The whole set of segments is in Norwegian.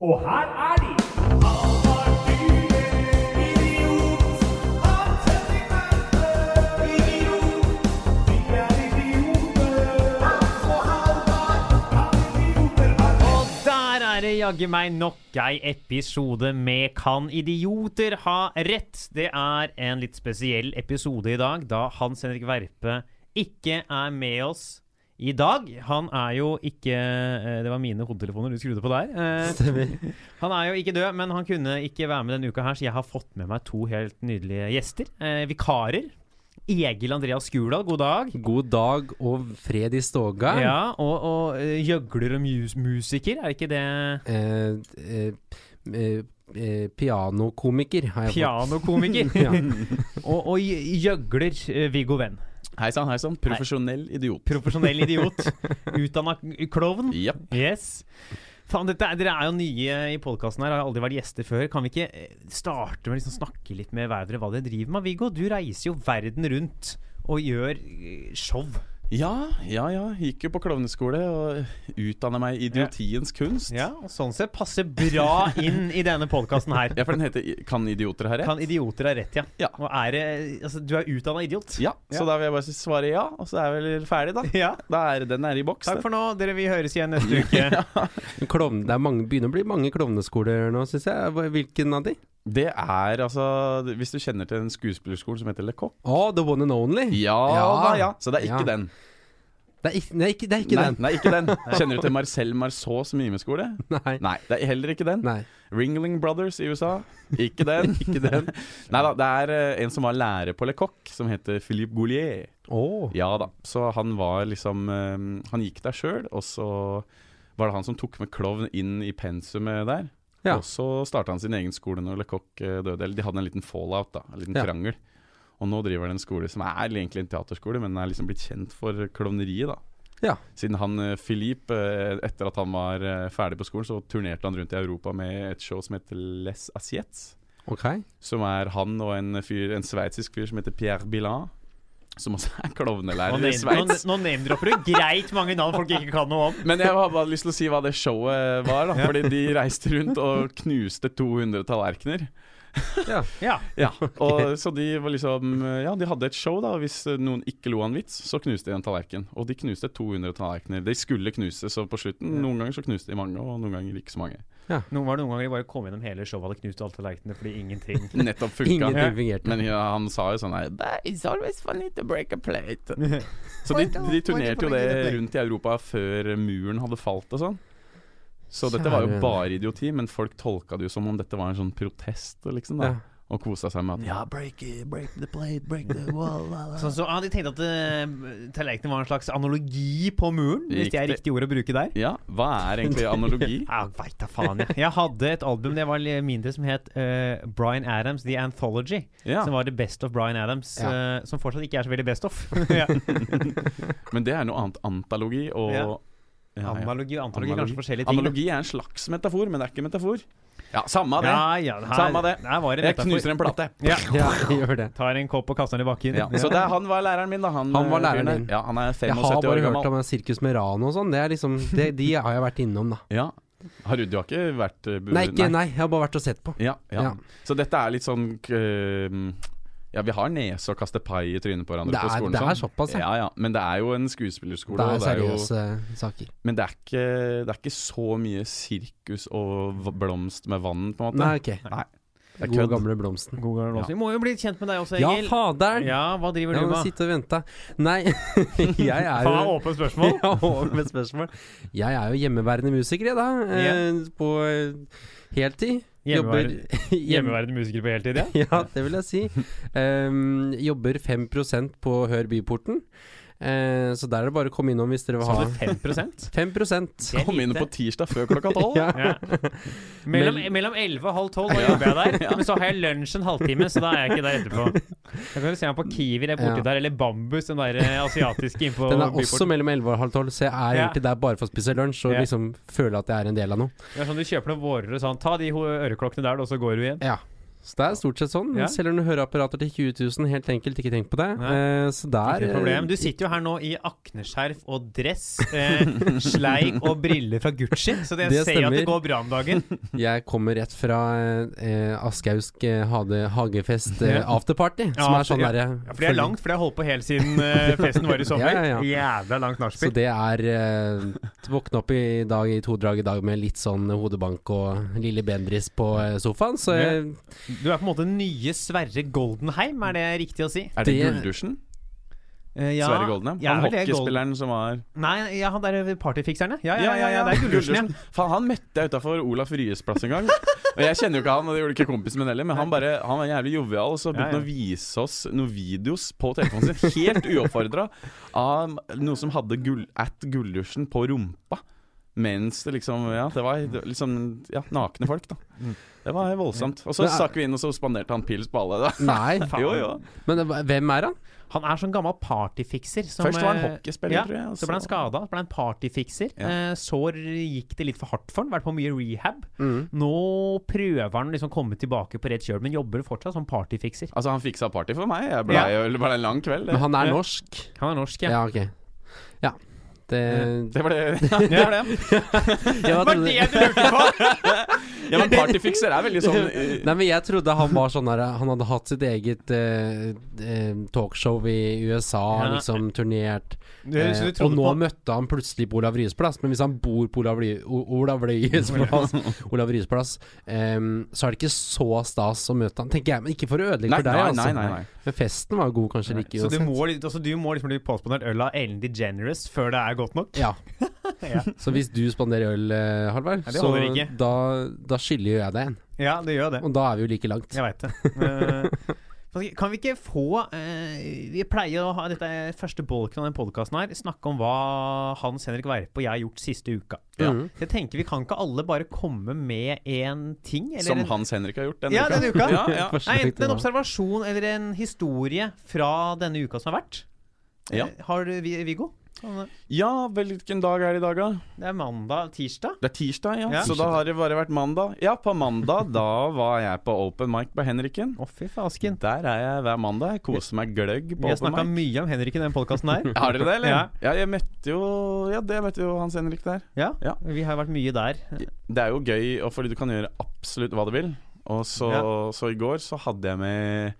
Og her er de! Og der er det jaggu meg nok ei episode med Kan idioter ha rett? Det er en litt spesiell episode i dag, da Hans Henrik Verpe ikke er med oss. I dag Han er jo ikke eh, Det var mine hodetelefoner du skrudde på der. Eh, Stemmer. Han er jo ikke død, men han kunne ikke være med denne uka her, så jeg har fått med meg to helt nydelige gjester. Eh, vikarer. Egil Andreas Skurdal, god dag. God dag og fred i stoga. Ja, og, og eh, gjøgler og mus musiker, er ikke det Eh, eh, eh, eh, pianokomiker har jeg Pianokomiker. fått. Ja. og, og gj- gjøgler eh, Viggo Venn. Hei sann, hei sann. Profesjonell idiot. Profesjonell idiot. Utdanna k- klovn. Japp. Yes. Faen, dette, er- dere er jo nye i podkasten her, har aldri vært gjester før. Kan vi ikke eh, starte med å liksom snakke litt med hverandre hva dere driver med? Viggo, du reiser jo verden rundt og gjør eh, show. Ja, ja, ja. Gikk jo på klovneskole og utdanna meg i idiotiens kunst. Ja, og Sånn sett passer bra inn i denne podkasten her. Ja, for den heter I- Kan idioter ha rett? Kan idioter ha rett, ja. Ja. Og er det Altså, du er utdanna idiot. Ja, så da vil jeg bare svare ja, og så er jeg vel ferdig, da. Ja. Da er den er i boks. Takk den. for nå, dere. Vi høres igjen neste uke. Men Klovn, det er mange, begynner å bli mange klovneskoler nå, syns jeg. Hva- Hvilken av de? Det er altså Hvis du kjenner til en skuespillerskole som heter Le Coq Å, The One and Only. Ja, Ja. da, ja. Så det er ikke Ja. den. Det er ikke, nei, ikke, det er ikke nei, den. nei, ikke den. Kjenner du til Marcel Marceaus mimeskole? Nei. Nei, det er heller ikke den. Nei. Ringling Brothers i USA. Ikke den. ikke den. Nei da, det er eh, en som var lærer på Le Coq, som heter Philippe Goulier. Å. Ja da. Så han var liksom eh, Han gikk der sjøl, og så var det han som tok med klovn inn i pensumet der. Ja. Og så starta han sin egen skole når Le Coq eh, døde. Eller de hadde en liten fallout, da. En liten Ja. krangel. Og nå driver han en skole som er egentlig en teaterskole, men er liksom blitt kjent for klovneriet, da. Ja. Siden han eh, Philippe, eh, etter at han var eh, ferdig på skolen, så turnerte han rundt i Europa med et show som heter Les Assiettes. Ok. Som er han og en, fyr, en sveitsisk fyr som heter Pierre Bilan. Som også er Nå klovnelærer i name- Nå Sveits. nå name-dropper du greit mange navn folk ikke kan noe om. Men jeg har bare lyst til å si hva det showet var. da Fordi de reiste rundt og knuste 200 tallerkener. Ja. Ja. Ja, og Så de var liksom Ja, de hadde et show, da. Og hvis noen ikke lo av en vits, så knuste de en tallerken. Og de knuste 200 tallerkener. De skulle knuse, så på slutten Noen ganger så knuste de mange, og noen ganger ikke så mange. Noen var det noen ganger de bare kom gjennom hele showet og hadde knust alle tallerkenene fordi ingenting Nettopp funka. Ingenting fungerte. Men ja, han sa jo sånn her "But It's always funny to break a plate. Så de, de turnerte jo det rundt i Europa før muren hadde falt og sånn. Så dette var jo Kjære. bare idioti, men folk tolka det jo som om dette var en sånn protest, liksom, da. Ja. Og kosa seg med at ja, Sånn så, ah, De tenkte at eh, tallerkenene var en slags analogi på muren, hvis det er Riktig. riktig ord å bruke der. ja, hva er egentlig analogi? Jeg veit da faen, jeg. Jeg hadde et album da jeg var li- mindre som het eh, Bryan Adams The Anthology. Ja, Som var The Best of Bryan Adams. Ja. eh, som fortsatt ikke er så veldig best of. ja. men det er noe annet. Antalogi og ja, Ja. ja. Analogi og antologi, Analogi. kanskje forskjellige ting. da. Analogi er en slags metafor, men det er ikke en metafor. Ja, samme av det. Ja, ja, her, Samme det. Her var det Jeg knuser en plate. Ja. Ja, gjør det. Tar en kopp og kaster den i bakken. Ja, så det er, han var læreren min, da. Han, Han var eh, fyren læreren der. din. Ja, han er Jeg 75 har år bare hørt gammel. om Sirkus Merano og sånn. Det er liksom, det, de har jeg vært innom, da. Ja. Har du, du har ikke vært eh, bu- Nei, ikke, nei, jeg har bare vært og sett på. Ja, ja. Ja. Så dette er litt sånn k- øhm, Ja, vi har nese og kaste pai i trynet på hverandre Det på er, skolen. det er sånn. såpass, ja. Ja, ja. Men det er jo en skuespillerskole. Det og er jo, seriøse saker. men det er, ikke, det er ikke så mye sirkus og v- blomst med vann, på en måte. Nei, ok. det er God kødd. gamle blomsten. God gammel Åsen. Vi må jo bli kjent med deg også, Ja, Egil. faderen! Ja, Ja, hva driver men du med? sitte og vente. Nei, jeg er Faen, jo åpent spørsmål. ja, over med spørsmål. Jeg er jo hjemmeværende musiker, jeg, da. eh, På eh, heltid. Jobber Hjemmeværende, hjem- hjemmeværende musiker på heltid, ja. Ja, det vil jeg si. Um, jobber 5 på Hør byporten. Eh, så der er det bare å komme innom hvis dere vil Så ha hadde 5 5 Det er Kom inn lite. på tirsdag før klokka tolv. Ja. ja. Mellom, mellom 11 og halv 12 da jobber jeg der. Men så har jeg lunsj en halvtime, så da er jeg ikke der etterpå. Da kan du se meg på Kiwi der borti Ja. der, eller Bambus, den der eh, asiatiske innpå Den er også byporten. mellom 11 og halv 12, så jeg er Ja. egentlig der bare for å spise lunsj og Ja. liksom føle at jeg er en del av noe. Det er sånn du kjøper noen vårer og sånn. Ta de ho- øreklokkene der, og så går du igjen. Ja. Så det er stort sett sånn. Ja. Selger noen høreapparater til 20 000, helt enkelt, ikke tenk på det. Nei. Eh, så der Ikke noe problem. Du sitter jo her nå i akneskjerf og dress, eh, sleik og briller fra Gucci, så det, Det ser jeg at det stemmer. går bra om dagen. eh, Jeg kommer rett fra eh, Aschausk eh, hade- hagefest eh, Ja. afterparty, som Ja, er sånn ja. derre Ja, for det er langt, for det har holdt på helt siden eh, festen var i sommer. Ja, ja, Jævla langt Så nachspiel. det er eh, Våkne opp i dag i to drag i dag med litt sånn hodebank og lille bendris på eh, sofaen, så jeg, Du er på en måte nye Sverre Goldenheim, er det riktig å si? Er det, Det- Guldusjen? Eh, ja, Sverre Goldenheim? ja, han vel, det er Gold- hockeyspilleren som var Nei, ja, han der partyfikseren, ja. Ja, ja, ja, ja, det er Gullrushen, ja. Faen, han møtte jeg utafor Olaf Ryes plass en gang. Og Jeg kjenner jo ikke han, og det gjorde ikke kompisen min heller, men han, bare, han var jævlig jovial, og så Ja, begynte ja. han å vise oss noen videos på telefonen sin, helt uoppfordra, av noe som hadde gull, at Guldusjen på rumpa. Mens det liksom Ja, det var det var liksom Ja, nakne folk, da. Det var voldsomt. Og så Men er- stakk vi inn, og så spanderte han pils på alle. Da. Nei. Jo, jo. Men eh, hvem er han? Han er sånn gammel partyfikser. som, Først var han eh, hockeyspiller, ja, tror jeg. og Så ble han skada, så ble han partyfikser. Ja. Eh, Så gikk det litt for hardt for han, vært på mye rehab. Nå prøver han liksom å komme tilbake på rett kjøl, men jobber fortsatt som partyfikser. Altså, han fiksa party for meg. Jeg ble, det ble en lang kveld. Men Det, han er Ja. norsk? Han er norsk, ja. Ja, ok. Ja. Det, det ble ja, det ble det. Jeg Var trodde- det du lurte på?! Ja, men partyfikser er veldig sånn eh, Nei, men jeg trodde han var sånn der Han hadde hatt sitt eget eh, eh, talkshow i USA, Ja. liksom turnert. Du, så du eh, og trodde nå på møtte han plutselig på Olav Ryes plass, men hvis han bor på Olav, Ry- O- Olav Ryes plass, Olav Ryes plass em, så er det ikke så stas å møte han, tenker jeg. Men ikke for å ødelegge Nei, for deg, nei, altså. nei, nei, nei. Men festen var jo god, kanskje like så du uansett. må, litt- altså, du må liksom bli påspandert øl av Ellen DeGeneres før det er godt nok? Ja. Ja, Så hvis du spanderer øl, eh, Halvard, Ja, det så holder ikke. da, da skylder jo jeg deg en. ja det gjør det. Og da er vi jo like langt. Jeg veit det. Eh, faktisk, kan vi ikke få eh, Vi pleier å ha dette er første bolken av den podkasten her, snakke om hva Hans Henrik Verpe og jeg har gjort siste uka. Ja. Mhm. Jeg tenker Vi kan ikke alle bare komme med én ting? Eller Som en, Hans Henrik har gjort denne ja, uka. denne uka. Ja, ja. Nei, Forslag til enten en hva? observasjon eller en historie fra denne uka som har vært. Ja. Eh, Har du Vi- Viggo? Kan- ja, vel, hvilken dag er det i dag, da? Det er mandag, tirsdag. Det er tirsdag, ja. Ja. Så da har det bare vært mandag. Ja, på mandag da var jeg på open mic på Henriken. Å, fy fasken. Der er jeg hver mandag. Jeg koser meg gløgg Vi på har open snakka mic. mye om Henrik i den podkasten her. Har dere det, eller? Ja. jeg møtte jo Ja, det møtte jo Hans Henrik der. Ja, Ja. Vi har vært mye der. Det er jo gøy, og fordi du kan gjøre absolutt hva du vil. Og så, så i går så hadde jeg med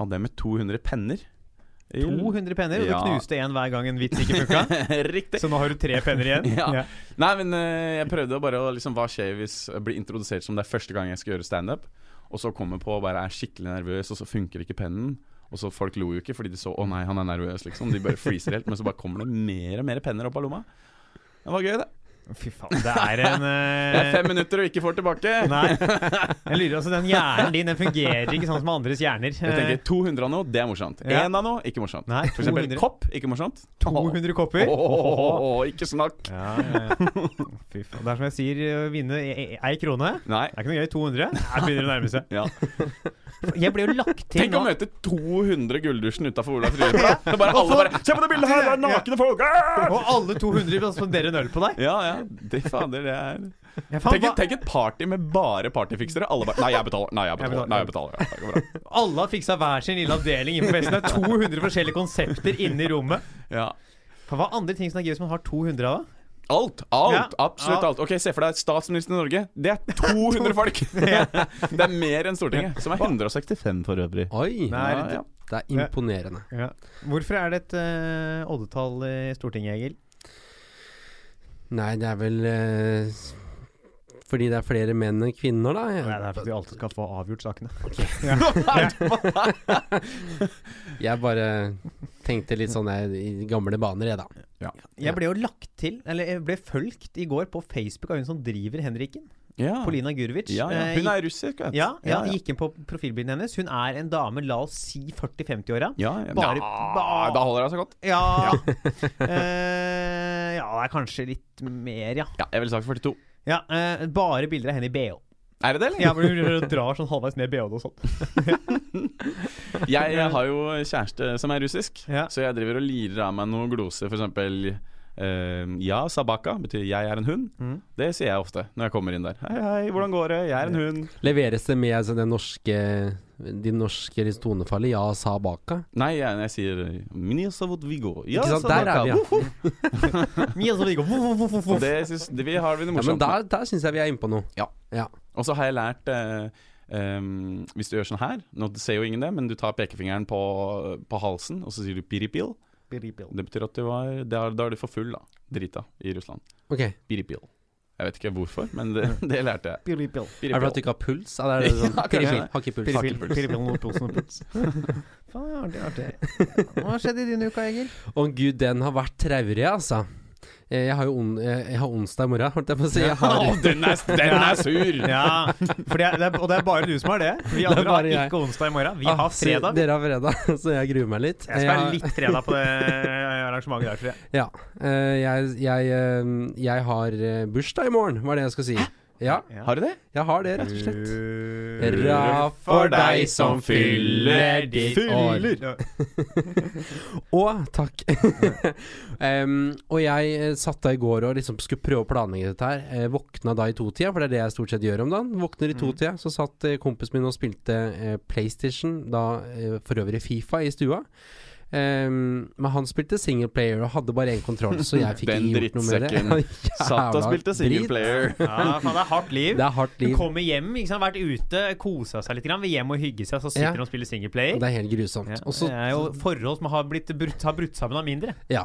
Hadde jeg med 200 penner. I- 200 penner, og Ja. du knuste én hver gang en vits ikke funka. Riktig. Så nå har du tre penner igjen? Ja. Nei, men eh, jeg prøvde å bare å liksom Hva skjer hvis jeg blir introdusert som det er første gang jeg skal gjøre standup, og så kommer på og bare er skikkelig nervøs, og så funker ikke pennen. Og så Folk lo jo ikke fordi de så 'Å nei, han er nervøs', liksom. De bare freezer helt, men så bare kommer det mer og mer penner opp av lomma. Det var gøy, det. Fy faen, det er en Det er eh, fem minutter og ikke får tilbake. Nei. Jeg lurer altså, Den hjernen din den fungerer ikke sånn som andres hjerner. Jeg Eh, tenker 200 av noe, det er morsomt. Ja. Én av noe, ikke morsomt. Nei, For eksempel 200. kopp, ikke morsomt. 200 kopper. Åh, ikke snakk. Ja, ja, ja. Fy faen. Det er som jeg sier, å vinne e- e- ei krone. Nei. Det er ikke noe gøy. 200? Her begynner det å nærme seg. Ja. Jeg ble jo lagt til Tenk å nå. møte 200 Guldusjen utafor Olav Ryes plass. Så bare alle bare Se på det bildet her, det er nakne folk! Ah! Og alle 200 vil spandere en øl på deg. Ja, ja. Det fader, det er Jeg, faen, tenk, et- hva- tenk et party med bare partyfiksere. Alle bare Nei, jeg betaler. Nei, jeg betaler. Nei, jeg betaler. Ja, det går bra. Alle har fiksa hver sin lille avdeling innenfor festen. Det er 200 forskjellige konsepter inne i rommet. Ja. Faen, Hva er andre ting som er gøy hvis man har 200 av? da? Alt. Ja. Alt. Absolutt Ja. alt. Ok, Se for deg statsministeren i Norge. Det er 200 folk! Det er mer enn Stortinget, som er 165 for øvrig. Oi! Nei. Ja, ja. Det er imponerende. Ja. Hvorfor er det et eh, oddetall i Stortinget, Egil? Nei, det er vel eh, fordi det er flere menn enn kvinner, da. Jeg, Nei, det er fordi vi alltid skal få avgjort sakene. jeg bare tenkte litt sånn jeg, i gamle baner, jeg, da. Jeg ble jo lagt til, eller jeg ble fulgt i går på Facebook av hun som driver Henriken. Ja. Polina Gurvic. Ja, ja. Eh, Hun gikk- er russisk, vet du. ja, ja, gikk inn på profilbilden hennes. Hun er en dame, la oss si 40-50-åra. Ja, ja. Bare- ja, Da holder det seg godt. Ja Eh, Ja, det er kanskje litt mer, ja. Ja, jeg ville sagt 42. ja eh, bare bilder av henne i bh. Er det det, eller? Ja, hvor hun drar sånn halvveis ned bh-en og sånn. Jeg, jeg har jo kjæreste som er russisk, Ja. så jeg driver og lirer av meg noen gloser, f.eks. eh, ja, sabaka betyr 'jeg er en hund'. Mhm. Det sier jeg ofte når jeg kommer inn der. Hei, hei, hvordan går det? Jeg er en hund. Leveres det med altså, det norske De norske liksom, tonefallet? Ja, sa baka? Nei, jeg, jeg sier «Меня зовут Viggo. Ja, Ikke sant? sabaka. Der er vi, ja. Woho! Mye som ligger voff, voff, voff, voff, Og voff. Det synes, det, vi har vi det ja men morsomt med. der, der syns jeg vi er inne på noe. Ja. ja. Og så har jeg lært eh, em, Hvis du gjør sånn her Nå ser jo ingen det, men du tar pekefingeren på, på halsen, og så sier du 'piripil'. Det betyr at du var Da da er du for full, da. Drita i Russland. Ok. Er Piripil. Jeg vet ikke hvorfor, men det, det lærte jeg. Piripil. det fordi at du ikke har puls? Eller er det sånn, Ja, kanskje piripil, det. har ikke puls. Faen, artig, artig. Hva har skjedd i din uke, Egil? Å gud, den har vært traurig, altså. Eh, Jeg har jo on eh, jeg har onsdag i morgen, holdt jeg på å si. Jeg har, Å, den, er, den er sur! Ja, for det er, det er, og det er bare du som har det. Vi er andre har bare jeg. ikke onsdag i morgen. Vi Ah, har fredag. Dere har fredag, så jeg gruer meg litt. Jeg skal Jeg være har- litt fredag på det eh, arrangementet der, tror jeg. Ja. eh, Jeg, jeg, eh, jeg har eh, bursdag i morgen, var det jeg skulle si. Ja, Ja. Har du det? jeg har det, rett og slett. Hurra for deg som fyller ditt år. Fyller. Å, takk. Em, og jeg eh, satt da i går og liksom skulle prøve å planlegge dette her. Eh, våkna da i totida, for det er det jeg stort sett gjør om dagen. Våkner Mhm. i totida. Så satt eh, kompisen min og spilte eh, PlayStation, da eh, for øvrig Fifa, i stua. Em, men han spilte single player og hadde bare én kontroll, så jeg fikk Den ikke gjort noe med det. drittsekken. Ja, Satt og jævla spilte single drit. player. Ja, faen, det er hardt liv. Det er hardt Du liv. kommer hjem, ikke sant? vært ute, kosa seg litt, grann, vil hjem og hygge seg, så sitter Ja. han og spiller singleplayer. Det er helt grusomt. Ja, Og så det er jo forhold som har blitt brutt, har brutt sammen av mindre. Ja,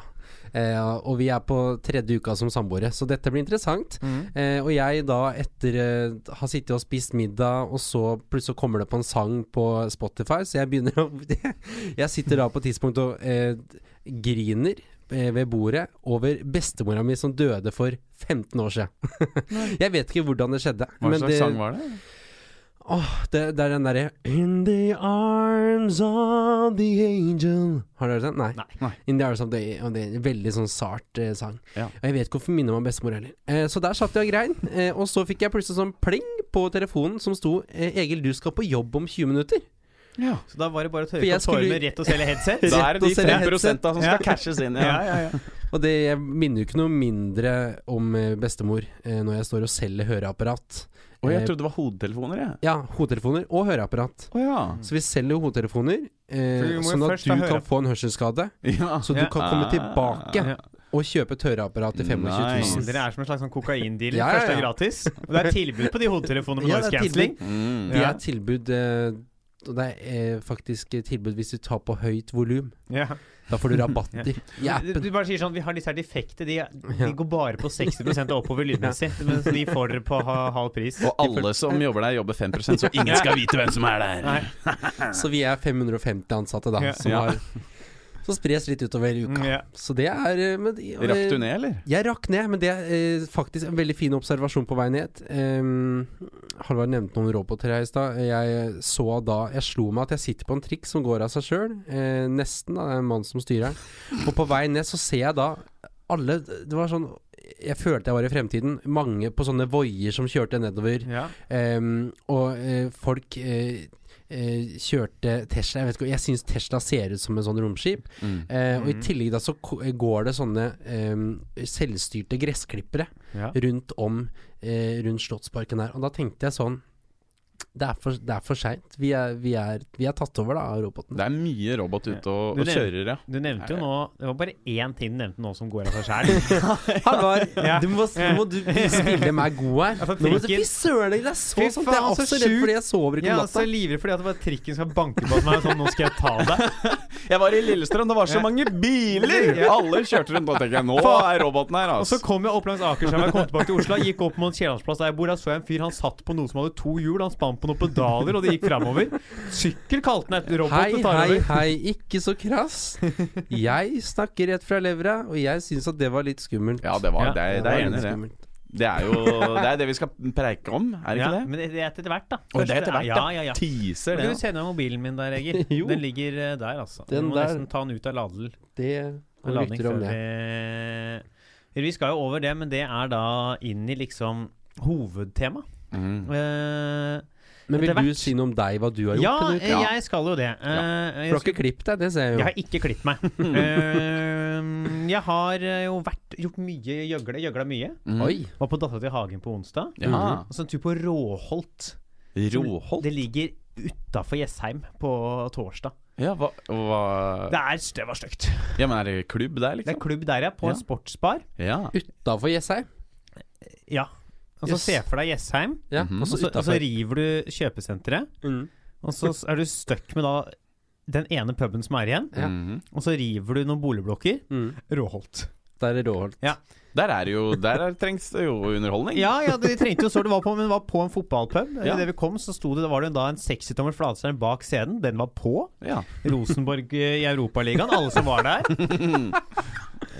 eh, og vi er på tredje uka som samboere, så dette blir interessant. Mm. Eh, og jeg da, etter eh, har sittet og spist middag, og så plutselig kommer det på en sang på Spotify, så jeg begynner å Jeg sitter da på et tidspunkt og eh, griner eh, ved bordet over bestemora mi som døde for 15 år siden. jeg vet ikke hvordan det skjedde. Hva men slags det- sang var det? Åh, det, det er den derre In the arms of the angel Har dere hørt den? Nei. Nei. In the arms of the angel Det er en veldig sånn sart eh, sang. Ja. Og jeg vet ikke hvorfor minner meg om bestemor heller. Eh, så der satt jeg og grein, eh, og så fikk jeg plutselig sånn pling på telefonen som sto eh, 'Egil, du skal på jobb om 20 minutter'. Ja. Så da var det bare å For tørke jeg opp tårene skulle- rett og selge headset. Da er Rett og det de slett 5 headset. som Ja. skal cashes inn. Ja, Ja. ja, ja. Og det jeg minner jo ikke noe mindre om eh, bestemor eh, når jeg står og selger høreapparat. Å, jeg Eh, trodde det var hodetelefoner, jeg. ja, hodetelefoner og høreapparat. Å ja. Så vi selger jo hodetelefoner, For eh, vi må jo sånn at først du ha kan høreapp- få en hørselsskade. ja. Så du Ja. kan komme Ah. tilbake Ja. og kjøpe et høreapparat til 25 Nice. 000. Dere er som en slags sånn kokaindealer. Ja, ja, Først ja. er gratis. Og det er tilbud på de hodetelefonene med Ja, noise det er cancelling. Mm. Det Ja. er tilbud eh, og Det er eh, faktisk tilbud hvis du tar på høyt volum. Ja. Da får du rabatter i Du, du appen. bare sier sånn Vi har disse her defekte. De, de Ja. går bare på 60 og oppover lydmessig. Mens de får dere på ha, halv pris. Og alle som jobber der, jobber 5 så ingen skal vite hvem som er der. Nei. Så vi er 550 ansatte da, Ja. som Ja. har Som spres litt utover i Mm, uka. ja. Så det er eh, men, de- Rakk du ned, eller? Jeg rakk ned, men det er eh, faktisk en veldig fin observasjon på vei ned. Um, Halvard nevnte noen roboter her i stad. Jeg så da Jeg slo meg at jeg sitter på en trikk som går av seg sjøl. Eh, nesten. Da. Det er en mann som styrer den. Og på vei ned så ser jeg da alle Det var sånn Jeg følte jeg var i fremtiden. Mange på sånne voier som kjørte nedover. Ja. Ehm, og eh, folk eh, eh, kjørte Tesla Jeg vet ikke, jeg syns Tesla ser ut som en sånn romskip. Mm. Eh, Og i Mhm. tillegg da så ko- eh, går det sånne ehm, selvstyrte gressklippere Ja. rundt om eh, rundt Slottsparken her. Og da tenkte jeg sånn Det er for, det er for seint. Vi, er- vi, er- vi er tatt over da av roboten. Det er mye robot ute og, Du og nevner- kjører, ja. Du nevnte jo nå Det var bare én ting du nevnte nå som går av seg sjæl. Halvard, Ja. du må, nå må du spille meg god Ja, her. for Nå må du trikken- Fy søren, det er så Fy sant! Jeg er faen, så også redd sjukt. fordi jeg sover ikke Jeg om er så natta. livredd fordi at det var trikken som banker på meg. Sånn, nå skal jeg ta deg. Jeg var i Lillestrøm, det var så mange biler! Alle kjørte rundt. Da tenker jeg nå er roboten her, Og så altså. kom jeg opp langs Akerselva, jeg kom tilbake til Oslo, gikk opp mot Kiellandsplass der jeg bor. Der så jeg en fyr, han satt på noe som hadde to hjul, han spant på noen pedaler, og det gikk framover. Sykkel kalte han et robot. Hei, det tar hei, over. hei, ikke så krass. Jeg snakker rett fra levra, og jeg syns at det var litt skummelt. Ja, det, var, Ja, det, er- Ja, det var er litt enig i det. skummelt. Det er jo det, er det vi skal preike om, er det ja, ikke det? Men det, det er etter hvert, da. Og det er etter hvert, ja. Ja, ja, Teaser, Kan du det. sende meg mobilen min der, Egil? Jo. Den ligger eh, der, altså. du Den må der. nesten ta den ut av ladel. Det av går Ladning rykter før om det. vi Vi skal jo over Mhm. det, men det er da inn i liksom hovedtema. da. Mm. Eh, Men vil etter du hvert. si noe om deg, hva du har gjort? Ja, denne uka? eh, jeg skal jo det. Eh, jeg For du har skulle- ikke klippet deg, det ser jeg jo. Jeg har ikke klippet meg. Mm. Eh, jeg har eh, jo vært, gjort mye gjøgle. Gjøgla mye. Oi. Var på Dattera til Hagen på onsdag. Ja. Og så en tur på Råholt. Råholt? Mhm. Det ligger utafor Jessheim på torsdag. Ja, hva, hva Det, er, det var stygt. Ja, men er det klubb der, Det er liksom? klubb der, ja. På Ja. en sportsbar. Ja. Utafor Jessheim? Ja. Og så Yes. se for deg Jessheim, Ja, Mhm. og og så så, altså og så utafor. river du kjøpesenteret. Mm. Og så s- er du stuck med da den ene puben som er igjen, Ja. Mhm. og så river du noen boligblokker. Mm. Råholt. Der er Råholt. Der er det jo Der er, trengs det jo underholdning. Ja, ja, de trengte jo så det var på, men det var på en fotballpub. Eh, Ja. Idet vi kom, så sto det, var det da en 60-tommer flatskjerm bak scenen. Den var på. Ja. Rosenborg eh, i Europaligaen, alle som var der.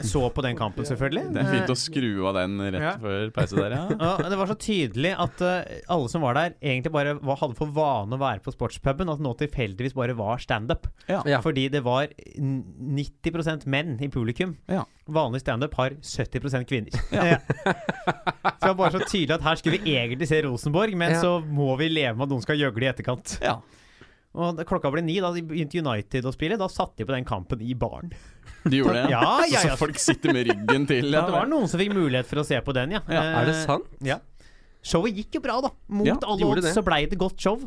Så på den kampen, selvfølgelig. Det er fint å skru av den rett Ja. før pause der, ja. Ja, det var så tydelig at eh, alle som var der, egentlig bare var, hadde for vane å være på sportspuben, at nå tilfeldigvis bare var standup. Ja. Ja. Fordi det var n- 90 menn i publikum. Ja. Vanlig standup har 70 kvinner. Ja. så det var bare så tydelig at her skulle vi egentlig se Rosenborg, men Ja. så må vi leve med at noen skal gjøgle i etterkant. Ja. Og da klokka ble ni, da de begynte United å spille. Da satte de på den kampen i baren. De gjorde det? Ja, ja, Så- ja. altså, Så folk sitter med ryggen til. At det var noen som fikk mulighet for å se på den, ja. Ja. Er det Eh, sant? Ja. Showet gikk jo bra, da. Mot Ja, alle gjorde odds det. så blei det godt show.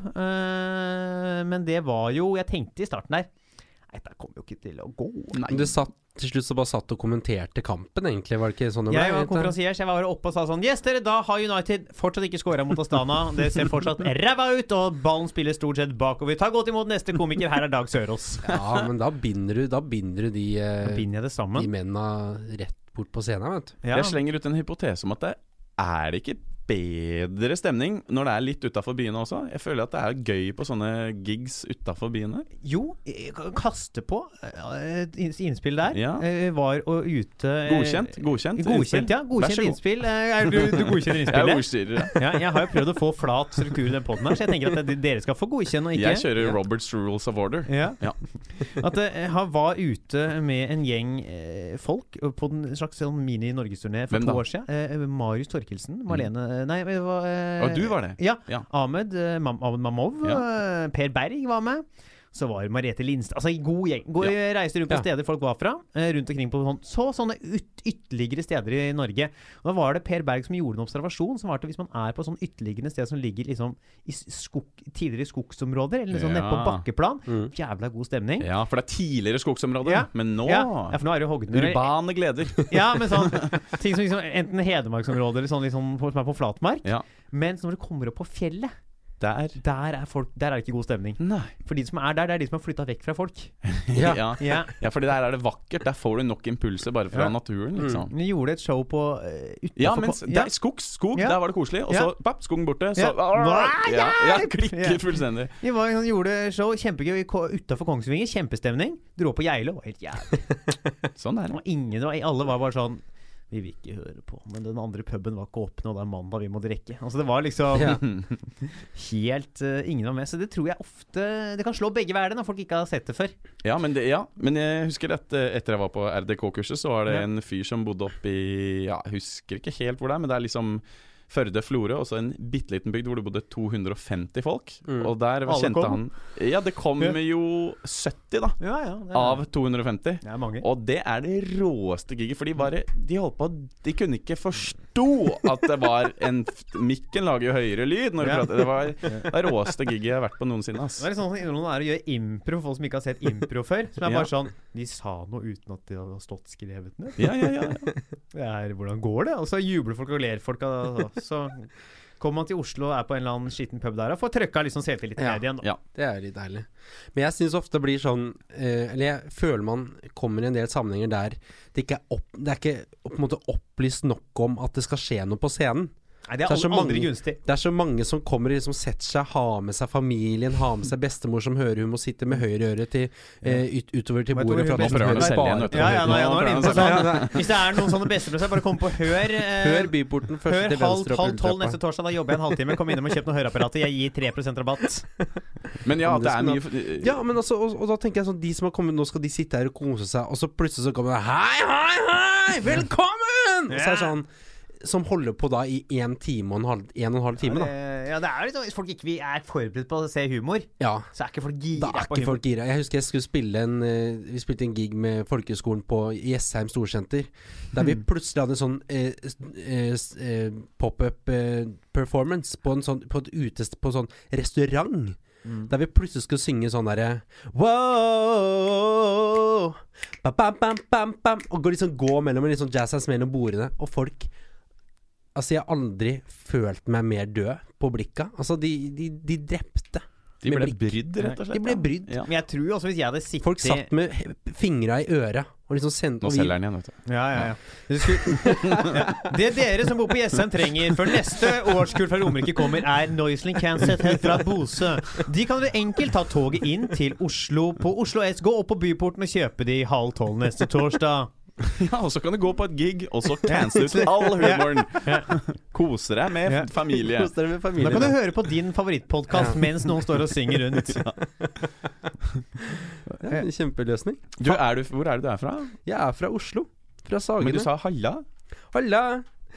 Eh, men det var jo Jeg tenkte i starten der Nei, dette kommer jo ikke til å gå. Men Du satt til slutt så bare satt og kommenterte kampen, egentlig. Var det ikke sånn det ble? Jeg eh, var vet du? konferansier, så jeg var bare oppe og sa sånn Yes, dere, da har United fortsatt ikke scora mot Astana. Det ser fortsatt ræva ut, og ballen spiller stort sett bakover. Ta godt imot neste komiker. Her er Dag Sørås. Ja, men da binder du, da binder du de, Da eh, Binder jeg det de sammen? menna rett bort på scenen, vet du. Ja. Jeg slenger ut en hypotese om at det er det ikke bedre stemning når det er litt utafor byene også. Jeg føler at det er gøy på sånne gigs utafor byene. Jo, eh, kaste på eh, innspill der. Ja. Eh, Var og ute eh, Godkjent. Godkjent, Godkjent, ja. Vær så Godkjent god. innspill. Eh, Er du, du godkjenner Jeg innspillet? er ordstyrer. ja. Ja, jeg har jo prøvd å få flat struktur i den poden her, så jeg tenker at det- dere skal få godkjenne og Jeg ikke. kjører Roberts Rules of Order. Ja. Ja. At eh, han var ute med en gjeng eh, folk på en slags sånn mini-norgesturné for Hvem to da? år siden. Eh, Marius Torkelsen, Malene Nei, men det var eh, Og du var det. Ja. Ja. Ahmed eh, Mam Ahmed Mamov. eh, Per Berg var med. Så var Marete Lindstad Altså, god gjeng. God, Reiste rundt på Ja. steder folk var fra. eh, Rundt omkring på sånn, så sånne yt ytterligere steder i Norge. Og da var det Per Berg som gjorde en observasjon som var at hvis man er på sånn ytterliggende sted som ligger liksom i skog, tidligere skogsområder, eller liksom nede på Ja. bakkeplan, jævla god stemning. Ja. Ja, for det er tidligere skogsområder, Ja. men nå Ja, for nå er det jo Hogner Urbane gleder. Ja, men sånn ting som liksom, enten Hedmarksområdet eller sånn liksom, på- som er på flatmark. Ja. Men så når du kommer opp på fjellet, Der der er, folk, der er det ikke god stemning. Nei. For de som er der, det er de som har flytta vekk fra folk. Ja. Ja. Ja. ja, fordi der er det vakkert. Der får du nok impulser bare fra Ja. Mm. naturen, liksom. Vi gjorde et show på uh, utenfor Ja, mens på- der, skog, skog Ja. der var det koselig. Og så Ja. papp, skogen borte. Så Ah, Ja. ja. Ja, ja, hjelp! klikker Ja. fullstendig. Vi var, sånn, gjorde show kjempegøy utafor Kongsvinger. Kjempestemning. Dro på Geilo. Var helt jævlig. Sånn Det er det. var ingen, det var, alle var bare sånn Vi vil ikke høre på. Men den andre puben var ikke åpen, og det er mandag, vi må drikke. Altså Det var liksom Ja. helt eh, Ingen var med. Så det tror jeg ofte Det kan slå begge veier det, når folk ikke har sett det før. Ja, men, det, ja. men jeg husker at eh, etter jeg var på RDK-kurset, så var det Ja. en fyr som bodde oppe i ja, Jeg husker ikke helt hvor det er, men det er liksom Førde, Florø, og så en bitte liten bygd hvor det bodde 250 folk. Mm. Og der Alle kjente kom. han Ja, det kom Ja. jo 70, da. Ja, ja, det er, Av 250. Det er mange. Og det er det råeste giget, for de bare De holdt på De kunne ikke forstå at det var en f- Mikken lager jo høyere lyd når du Ja. prater. Det var det råeste giget jeg har vært på noensinne, ass. Det er litt sånn som noen er å gjøre impro for folk som ikke har sett impro før. Som er Ja. bare sånn De sa noe uten at det har stått skrevet ned. Ja, ja, ja. ja. Det er hvordan går det? Og så jubler folk og ler folk. Og så kommer man til Oslo og er på en eller annen skitten pub der og får trøkka liksom selvtilliten Ja. ned igjen. Da. Ja. Det er jo litt deilig. Men jeg syns ofte det blir sånn eh, Eller jeg føler man kommer i en del sammenhenger der det ikke er, opp, det er ikke på en måte opplyst nok om at det skal skje noe på scenen. Nei, det Så er er så aldri, aldri mange- gunstig. Det er så mange som kommer og liksom setter seg, har med seg familien, har med seg bestemor som hører hun må sitte med høyre øre til, eh, ut, utover til Vet du bordet. hvor for at hun hun prøver å hører selge bare- igjen, vet du. Ja, ja, nå, ja, nå er det inne på Ja, sånn. ja, ja. Hvis det er noen sånne besteprosesser, bare kom på Hør. eh, Hør Byporten først Hør til halv, venstre opp halv tolv neste ulltrappa. torsdag, da jobber jeg en halvtime. Kom innom og kjøp noe høreapparater. Jeg gir 3 rabatt. Men ja, det er mye Ja, men altså, og, og da tenker jeg sånn De som har kommet, nå skal de sitte her og kose seg, og så plutselig så kommer det Hei, hei, hei! Velkommen! Og så er det sånn Som holder på da i en time og en halv, en og en halv time, da. Det ja, det er litt sånn, Hvis folk ikke er forberedt på å se humor, Ja. så er ikke folk Da gira på er ikke humor. folk gira. Jeg husker jeg skulle spille en eh, Vi spilte en gig med folkehøgskolen på Jessheim storsenter. Der vi plutselig hadde en sånn eh, s- eh, s- eh, pop-up eh, performance på en sånn, på et utest, på en sånn restaurant. Der vi plutselig skulle synge sånn derre Wow bam, bam, bam, bam, bam, Og gå liksom gå mellom liksom jazzhands mellom bordene. Og folk Altså, jeg har aldri følt meg mer død på blikka. Altså, de, de, de drepte. De med ble blikk. brydd, rett og slett. De ble ja. brydd. Ja. Men jeg tror også hvis jeg hadde sittet Folk satt med he- fingra i øret og liksom sendte Nå og vi- selger han igjen, vet du. Ja, ja, ja. Du skulle- ja. Det dere som bor på Jessheim trenger før neste årskull fra Romerike kommer, er Noiseling Canset helt fra Bosø. De kan dere enkelt ta toget inn til Oslo på Oslo S, gå opp på Byporten og kjøpe de halv tolv neste torsdag. Ja, og så kan du gå på et gig, og så cancel ut all humoren. Kose deg med Ja. familie. Kos dere med Da kan du familien. høre på din favorittpodkast mens noen står og synger rundt. Ja, en kjempeløsning. Du, er du, hvor er det du er fra? Jeg er fra Oslo. Fra Men du Sagene. sa Halla? Halla!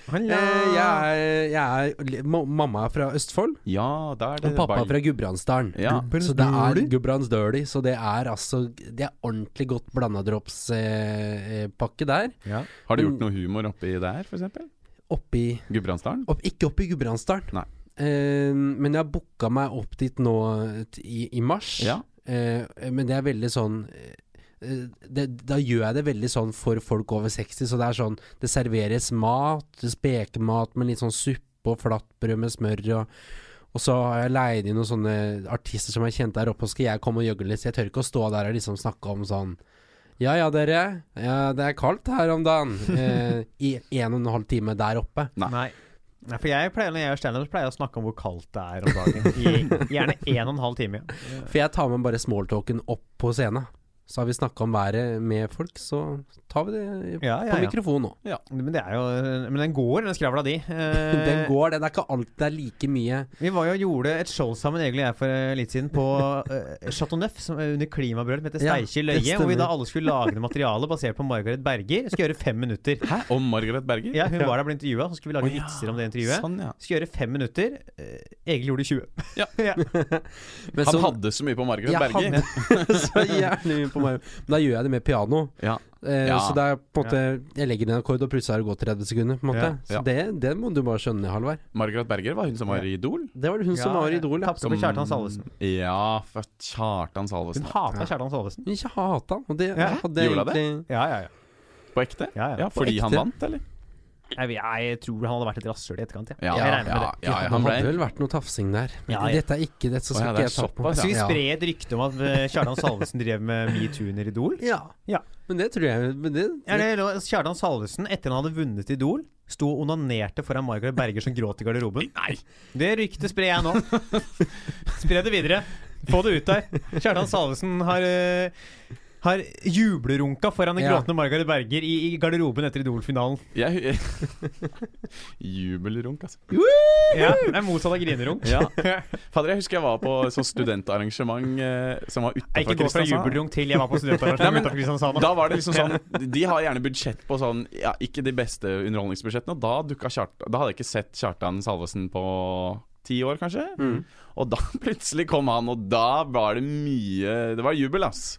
Eh, jeg er, jeg er li- ma- Mamma er fra Østfold, Ja, da er det og pappa er Bayern. fra Gudbrandsdalen. Ja. Så det er Gudbrandsdøli, så det er altså Det er ordentlig godt blanda drops eh, eh, pakke der. Har du gjort noe humor oppi der, f.eks.? Oppi Gudbrandsdalen? opp, Ikke oppi Gudbrandsdalen. Nei. Eh, men jeg har booka meg opp dit nå eh, t- i, i mars. Ja. Eh, men det er veldig sånn eh, det, Da gjør jeg det veldig sånn for folk over 60, så det er sånn Det serveres mat, spekemat med litt sånn suppe og flatbrød med smør og og så har jeg leid inn noen sånne artister som jeg kjente her oppe, og skal jeg komme og gjøgle litt, så jeg tør ikke å stå der og liksom snakke om sånn Ja ja, dere. Ja, det er kaldt her om dagen. Eh, I en og en halv time der oppe. Nei. Nei, for jeg pleier, Når jeg gjør standup, så pleier jeg å snakke om hvor kaldt det er om dagen. I gjerne en og en halv time. For jeg tar med bare smalltalken opp på scenen. Så har vi snakka om været med folk, så tar vi det Ja, ja, på ja. mikrofon nå. Men det er jo Men den går, den skravla di. Eh, Den går, den er ikke alt det er like mye Vi var jo og gjorde et show sammen egentlig jeg for eh, litt siden på eh, Chateau Neuf, som er under klimabrølet, som heter Ja, Steikje det løye. Hvor vi stemmer. da alle skulle lage noe materiale basert på Margaret Berger. Skulle gjøre fem minutter. Hæ? Om Margaret Berger? Ja, Hun var der og ble intervjua, så skulle vi lage Å, ja. vitser om det intervjuet. Sånn, ja. Skulle gjøre fem minutter. Eh, Egil gjorde 20. Ja. Men sånn- Han så- hadde så mye på Margaret Jeg Berger. hadde så jævlig mye på meg. Men da gjør jeg det med piano. Ja. Eh, Ja. Så det er på en måte Jeg legger ned en akkord, og plutselig har det gått 30 sekunder. På en måte. Ja, ja. Så det, det må du bare skjønne, Halvard. Margaret Berger var hun som var i Idol. Det var hun som Ja, var i Idol. ja. Tapte på Kjartan Salvesen. Ja, for Kjartan Salvesen. Hun hata Kjartan Salvesen. Hun ikke hata han. Og det Ja, hadde jeg gjorde hun det? egentlig Ja, ja, ja. På ekte? Ja, ja. På fordi ekte. han vant, eller? Jeg, jeg tror han hadde vært et rasshøl i etterkant. Ja. Ja, Jeg regner med ja, det. ja, ja, Det han ble hadde vel vært noe tafsing der. Ja, Men ja. Dette er ikke det, så Å, ja, skal det ikke er jeg ta på såpass, Skal vi Ja. spre et rykte om at eh, Kjartan Salvesen drev med metoo under Idol? Ja. Ja. Men det tror jeg men det, Ja, det lå- Kjartan Salvesen, etter han hadde vunnet Idol, sto og onanerte foran Margaret Berger som gråt i garderoben. Nei! Det ryktet sprer jeg nå. Spre det videre. Få det ut der. Kjartan Salvesen har, eh, har jublerunka foran den Ja. gråtende Margaret Berger i, i garderoben etter Idol-finalen. Jeg Jubelrunk, altså. Ja, det er motsatt av grinerunk. Ja. Fader, jeg husker jeg var på et sånt studentarrangement eh, som var Jeg utafor ikke gå fra jubelrunk til jeg var på Nei, studentarrangement men utenfor Kristiansand. Da var det liksom sånn De har gjerne budsjett på sånn Ja, ikke de beste underholdningsbudsjettene. Og da dukka Kjartan Da hadde jeg ikke sett Kjartan Salvesen på ti år, kanskje. Og da plutselig kom han, og da var det mye Det var jubel, ass.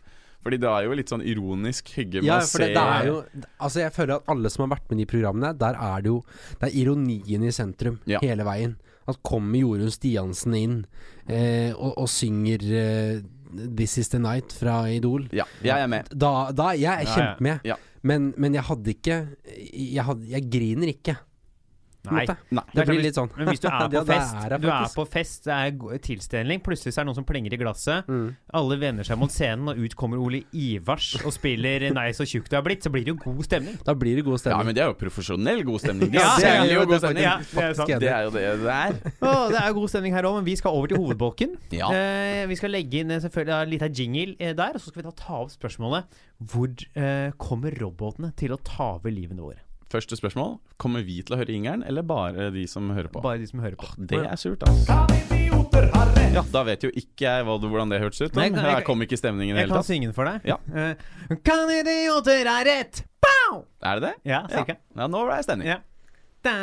Fordi det er jo litt sånn ironisk hygge med Ja, å for se det, det er jo Altså jeg føler at alle som har vært med i de programmene, der er det jo Det er ironien i sentrum Ja. hele veien. At kommer Jorunn Stiansen inn eh, og, og synger eh, 'This Is The Night' fra Idol. Ja, jeg er med. Da, da jeg Ja, er ja. kjempemed. Ja. Men, men jeg hadde ikke jeg, hadde, jeg griner ikke. på en Nei. måte. Nei. Det klart, blir litt sånn. Men hvis du er Ja, på det fest, er jeg du er faktisk. på fest, det er go- tilstelning, plutselig så er det noen som plenger i glasset, Mm. alle vender seg mot scenen, og ut kommer Ole Ivars og spiller 'Nei, så tjukk du er blitt', så blir det jo god stemning. Da blir det god Ja, stemning. men det er jo profesjonell god stemning. De Ja, det er selger jo jo god det er stemning. Ja, det er sant. faktisk Det er jo det det er. Å, det er god stemning her òg, men vi skal over til hovedbolken. Ja. Eh, vi skal legge inn eh, selvfølgelig en liten jingle eh, der, og så skal vi da ta opp spørsmålet Hvor eh, kommer robotene til å ta over livene våre? Første spørsmål. Kommer vi til å høre yngelen, eller bare de som hører på? Bare de som hører på. Det er surt, altså. Ja, da vet jo ikke jeg hva, hvordan det hørtes ut. Nei, jeg Men kan- jeg jeg kan- kom ikke i stemningen i det Jeg hele kan tatt. synge den for deg. Ja. Eh, kan idioter ha rett? Pow! Er det det? Ja, cirka. Ja, nå ble jeg stemning. Ja. Da,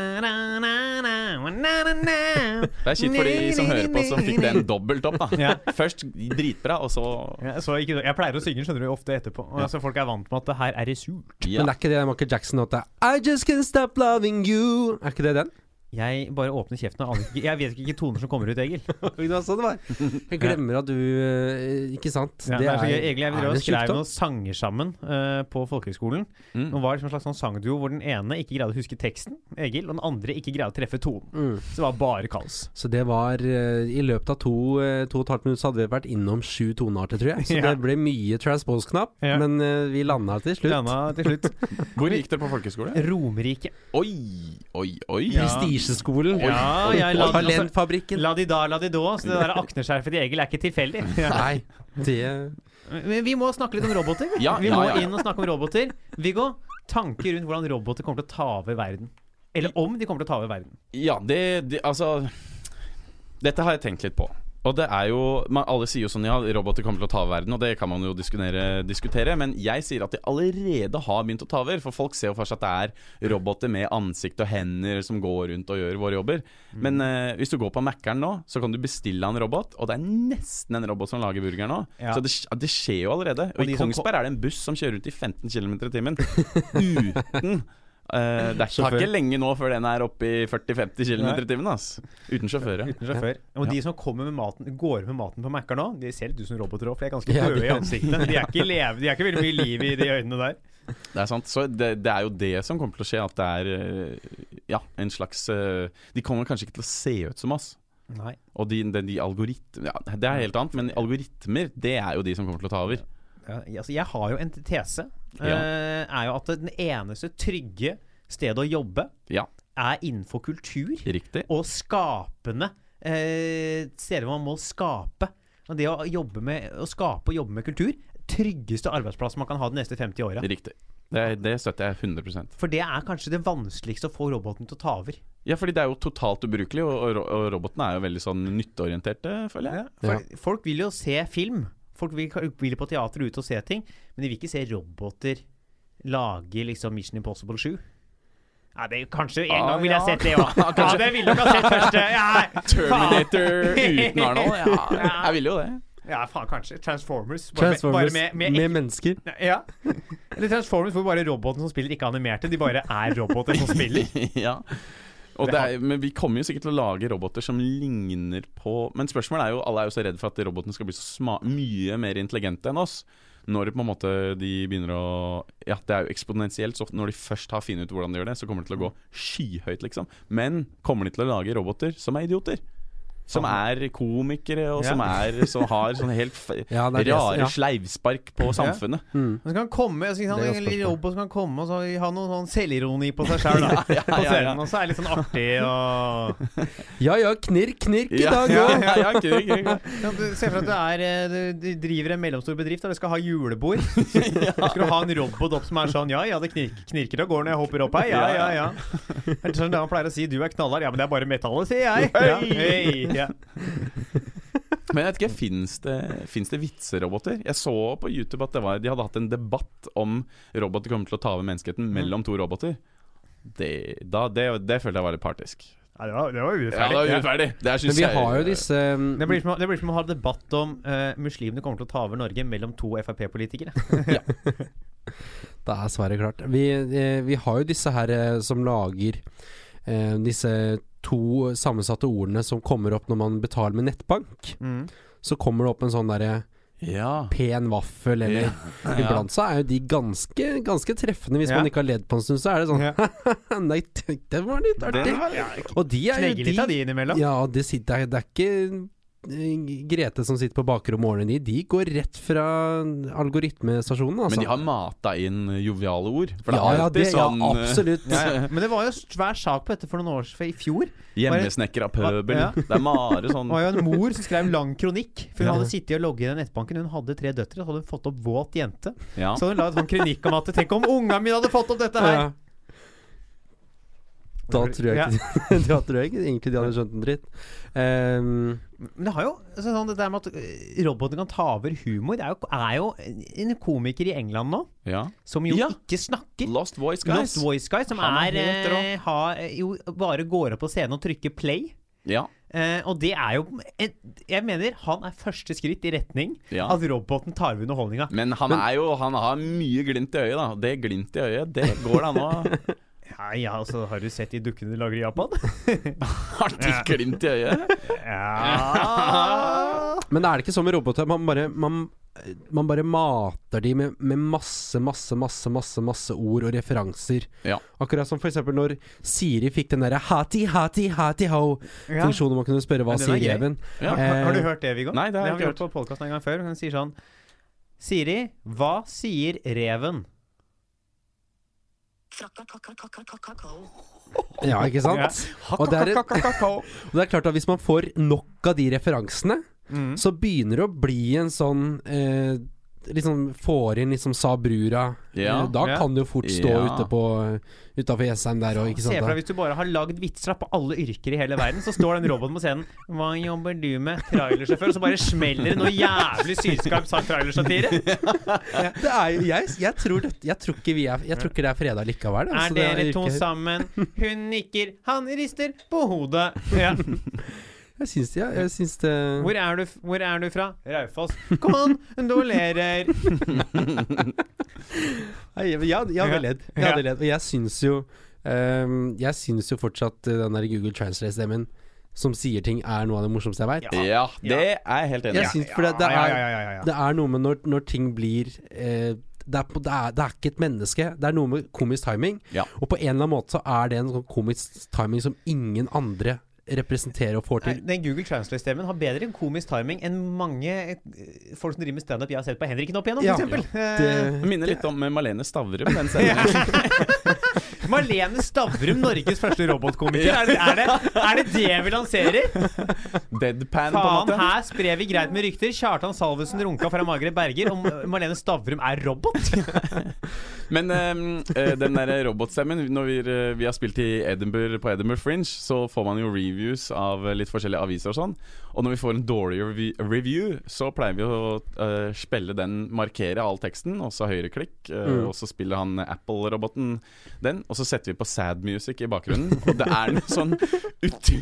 Det er kjipt for de som hører på, som fikk den dobbelt opp. da Ja. Først dritbra, og så Ja, så ikke, jeg pleier å synge skjønner du, ofte etterpå. Og altså, folk er vant med at det her er i surt. Men ja. det er ikke det Michael Jackson-låta I just can't stop loving you. Er ikke det den? Jeg bare åpner kjeften. og aner ikke- Jeg vet ikke hvilke toner som kommer ut, Egil. Det var sånn det var. Jeg glemmer at du eh, Ikke sant? Ja, det er så gøy. Egil og jeg vi drev og en skrev sykdom. noen sanger sammen eh, på folkehøgskolen. Mm. Nå var det som en slags sånn sangduo hvor den ene ikke greide å huske teksten, Egil, og den andre ikke greide å treffe tonen. Mm. Så det var bare kaos. Så det var eh, I løpet av to, eh, to og et halvt minutt så hadde vi vært innom sju tonearter, tror jeg. Så Ja. det ble mye transpose-knapp, Ja. men eh, vi landa til slutt. Lena til slutt. Hvor gikk dere på folkehøyskole? Romerike. Oi, oi, oi. Ja. Prestisjeskolen. Ja, jeg la, altså, Talentfabrikken. la de da, la de da. Så det der akneskjerfet til Egil er ikke tilfeldig. Ja. Nei, det Men vi må snakke litt om roboter. Ja, Vi ja, må ja. inn og snakke om roboter. Viggo, tanker rundt hvordan roboter kommer til å ta over verden. Eller om de kommer til å ta over verden. Ja, det, det Altså Dette har jeg tenkt litt på. Og det er jo man, Alle sier jo sånn ja, roboter kommer til å ta over verden, og det kan man jo diskutere, diskutere. Men jeg sier at de allerede har begynt å ta over. For folk ser jo for seg at det er roboter med ansikt og hender som går rundt og gjør våre jobber. Mm. Men eh, hvis du går på Mækkern nå, så kan du bestille en robot, og det er nesten en robot som lager burger nå. Ja. Så det, sk- det skjer jo allerede. Og, Og de i som Kongsberg er det en buss som kjører rundt i 15 km i timen uten Eh, det er ikke, tar Sjåfør. ikke lenge nå før den er oppe i 40-50 km i Nei. timen. ass Uten sjåfør. ja. Uten sjåfør. Og de som kommer med maten, går med maten på Mækkern nå, de ser litt ut som roboter òg, for de er ganske Ja, de- døde i ansiktet. De er ikke, leve, de er ikke veldig mye liv i de øynene der. Det er sant. Så det, det er jo det som kommer til å skje, at det er eh, ja, en slags eh, De kommer kanskje ikke til å se ut som oss. Nei. Og de, de, de algoritmer ja, Det er helt annet, men algoritmer det er jo de som kommer til å ta over. Ja, altså, jeg har jo en tese. Ja. eh, er jo at den eneste trygge stedet å jobbe Ja, er innenfor kultur riktig. og skapende eh, steder hvor man må skape. Og det å, jobbe med, å skape og jobbe med kultur tryggeste arbeidsplassen man kan ha de neste 50 åra. Riktig. Det, det støtter jeg 100 For det er kanskje det vanskeligste å få roboten til å ta over. Ja, fordi det er jo totalt ubrukelig, og, og, ro- og robotene er jo veldig sånn nytteorienterte, føler jeg. For Ja. Folk vil jo se film. Folk vil, vil på teater og ut og se ting. Men de vil ikke se roboter lage liksom Mission Impossible 7. Nei, det, kanskje en Ah, gang ville jeg ja. sett det òg. Ja, det ville nok ha sett først. Ja, Terminator uten Arnold. Ja, Ja. jeg ville jo det. ja faen, kanskje. Transformers. Bare med- Bare Transformers med, med, med, mennesker. ja. Eller Transformers hvor bare roboten som spiller, ikke er animerte. De bare er roboter som spiller. ja. Og det er, men vi kommer jo sikkert til å lage roboter som ligner på Men spørsmålet er jo, alle er jo så redd for at robotene skal bli så sma mye mer intelligente enn oss. Når på en måte de begynner å Ja, det er jo eksponentielt. Så når de først har funnet ut hvordan de gjør det, så kommer det til å gå skyhøyt, liksom. Men kommer de til å lage roboter som er idioter? Som er komikere, og Ja. som, er, som har sånn helt f Ja, det er det som- rare ja. Hmm. sleivspark på samfunnet. Så kan han komme, så kan han, en Det er et godt liten spørsmål. robot som kan komme og så ha noe sånn selvironi på seg sjøl. Ja, ja, ja, ja. Og så er det litt sånn artig og Ja ja, knirk, knirk i dag ja, òg! ja, ja, ikke, ikke, ikke. Ja, du ser for deg at du, er, eh, du, du driver en mellomstor bedrift og du skal ha julebord. Så skal du ha en robot opp som er sånn Ja, ja, det knirker, knirker og går når jeg hopper opp her. Ja, ja, ja. Eller sånn det han pleier å si. Du er knallhard. Ja, men det er bare metallet, sier jeg. Ja, hei, ja. Men jeg vet ikke, finnes det, finnes det vitseroboter? Jeg så på YouTube at det var, de hadde hatt en debatt om roboter kommer til å ta over menneskeheten mellom to roboter. Det, da, det, det følte jeg var litt partisk. Ja, det var, det var Ja, urettferdig. det var urettferdig. Det er, Men synes vi jeg- har jo disse um, Det blir, som, å- det blir som å ha debatt om eh, muslimene kommer til å ta over Norge mellom to Frp-politikere. Det er Sverre klart. Vi, eh, vi har jo disse her eh, som lager eh, disse to sammensatte ordene som kommer opp når man betaler med nettbank. Mm. Så kommer det opp en sånn derre Ja. pen vaffel, eller Iblant så er jo de ganske, ganske treffende. Hvis Ja. man ikke har ledd på en stund, så er det sånn Ja. Nei, det var litt artig. Den var, ja. Og de er Knegge jo litt av de innimellom. Ja, det, sitter, det er ikke eh, Grete som sitter på bakrommet og ordner de. De går rett fra algoritmestasjonen, altså. Men de har mata inn joviale ord. For det ja, er ja, alltid det, sånn ja, eh, absolutt. Ja, ja. Men det var jo svær sak på dette for noen år siden, i fjor. hjemmesnekra pøbel. Ja. Det er mare sånn Det var jo en mor som skrev en lang kronikk. For hun Ja. hadde sittet og logget i nettbanken. Hun hadde tre døtre, og så hadde hun fått opp våt jente. ja. Så hadde hun lagd en sånn kronikk om at Tenk om ungene mine hadde fått opp dette her! Ja. Da tror jeg, ikke, da tror jeg ikke egentlig de hadde skjønt en dritt. Ehm, Men det har jo altså, sånn, det der med at øh, robotene kan ta over humor, er jo, er jo en komiker i England nå Ja. som jo Ja. ikke snakker. Lost Voice, guys. Lost Voice Guy, som Han er, er helt rå. eh, har, jo, bare går opp på scenen og trykker play. Ja. Eh, og det er jo et- Jeg mener han er første skritt i retning Ja. at roboten tar over underholdninga. Men han er jo Han har mye glimt i øyet, da. Det glimt i øyet, det går da nå. Ja, ja, altså, har du sett de dukkene de lager i Japan? Har de glimt i øyet? ja men er det ikke sånn med roboter? Man bare, man, man bare mater de med, med masse, masse, masse, masse masse ord og referanser. Ja. Akkurat som f.eks. når Siri fikk den derre hati, hati, hati Ja. ho-funksjonen man kunne spørre hva Men den er sier gøy. reven. Ja. Har, har du hørt det, Viggo? Nei, det har jeg vi ikke gjort på podkasten en gang før. Hun sier sånn Siri, hva sier reven? Ja, ikke sant? Og det er et- Og det er klart at hvis man får nok av de referansene, Mm. så begynner det å bli en sånn eh, Liksom får inn liksom sa brura. Ja. Eh, Da Ja. kan du jo fort stå Ja. ute på utafor Jessheim der og ikke Se sant. for deg Da. hvis du bare har lagd vitser da på alle yrker i hele verden, så står den roboten på scenen Hva jobber du med? Trailersjåfør. Og så bare smeller det noe jævlig sylskarpt sagt trailersatire. Det er, jo- jeg, jeg, tror det, jeg tror ikke vi er Jeg tror ikke det er fredag likevel. da, så Er dere det to ikke- sammen? Hun nikker, han rister på hodet. Ja. Jeg syns ja, jeg syns det Hvor er du, f- hvor er du fra? Raufoss. Kom an, hun dolerer. Nei, jeg, jeg, jeg hadde ledd. Jeg hadde ledd. Og jeg syns jo ehm, Jeg syns jo fortsatt eh, den der Google Translate-stemmen som sier ting, er noe av det morsomste jeg veit. Ja, det er jeg helt enig Jeg i. syns for det, det er Ja, ja, ja, ja, ja. Det er noe med når, når ting blir eh, det, er på, det, er, det er ikke et menneske. Det er noe med komisk timing. Ja. Og på en eller annen måte så er det en sånn komisk timing som ingen andre representerer og får Nei, til. Den Google Translate-stemmen har bedre komisk timing enn mange eh, folk som driver med standup jeg har sett på Henriken opp igjennom, Ja. f.eks. Det, Det minner litt om eh, Malene Stavrum. Den sendingen. Marlene Stavrum, Norges første robotkomiker. Er, det- er, det, er det det vi lanserer? Deadpan, på en Faen, måte. her sprer vi greit med rykter. Kjartan Salvesen runka fra Margaret Berger, og eh, Marlene Stavrum er robot. Men ehm, eh, den der robotstemmen Når vi, eh, vi har spilt i Edinburgh på Edinburgh Fringe, så får man jo reviews av eh, litt forskjellige aviser og sånn. Og når vi får en dårlig revi- review, så pleier vi å eh, spille den, markere all teksten, og så høyreklikk. eh, Mm. Og så spiller han Apple-roboten den, og så setter vi på sad music i bakgrunnen. Og det er noe sånn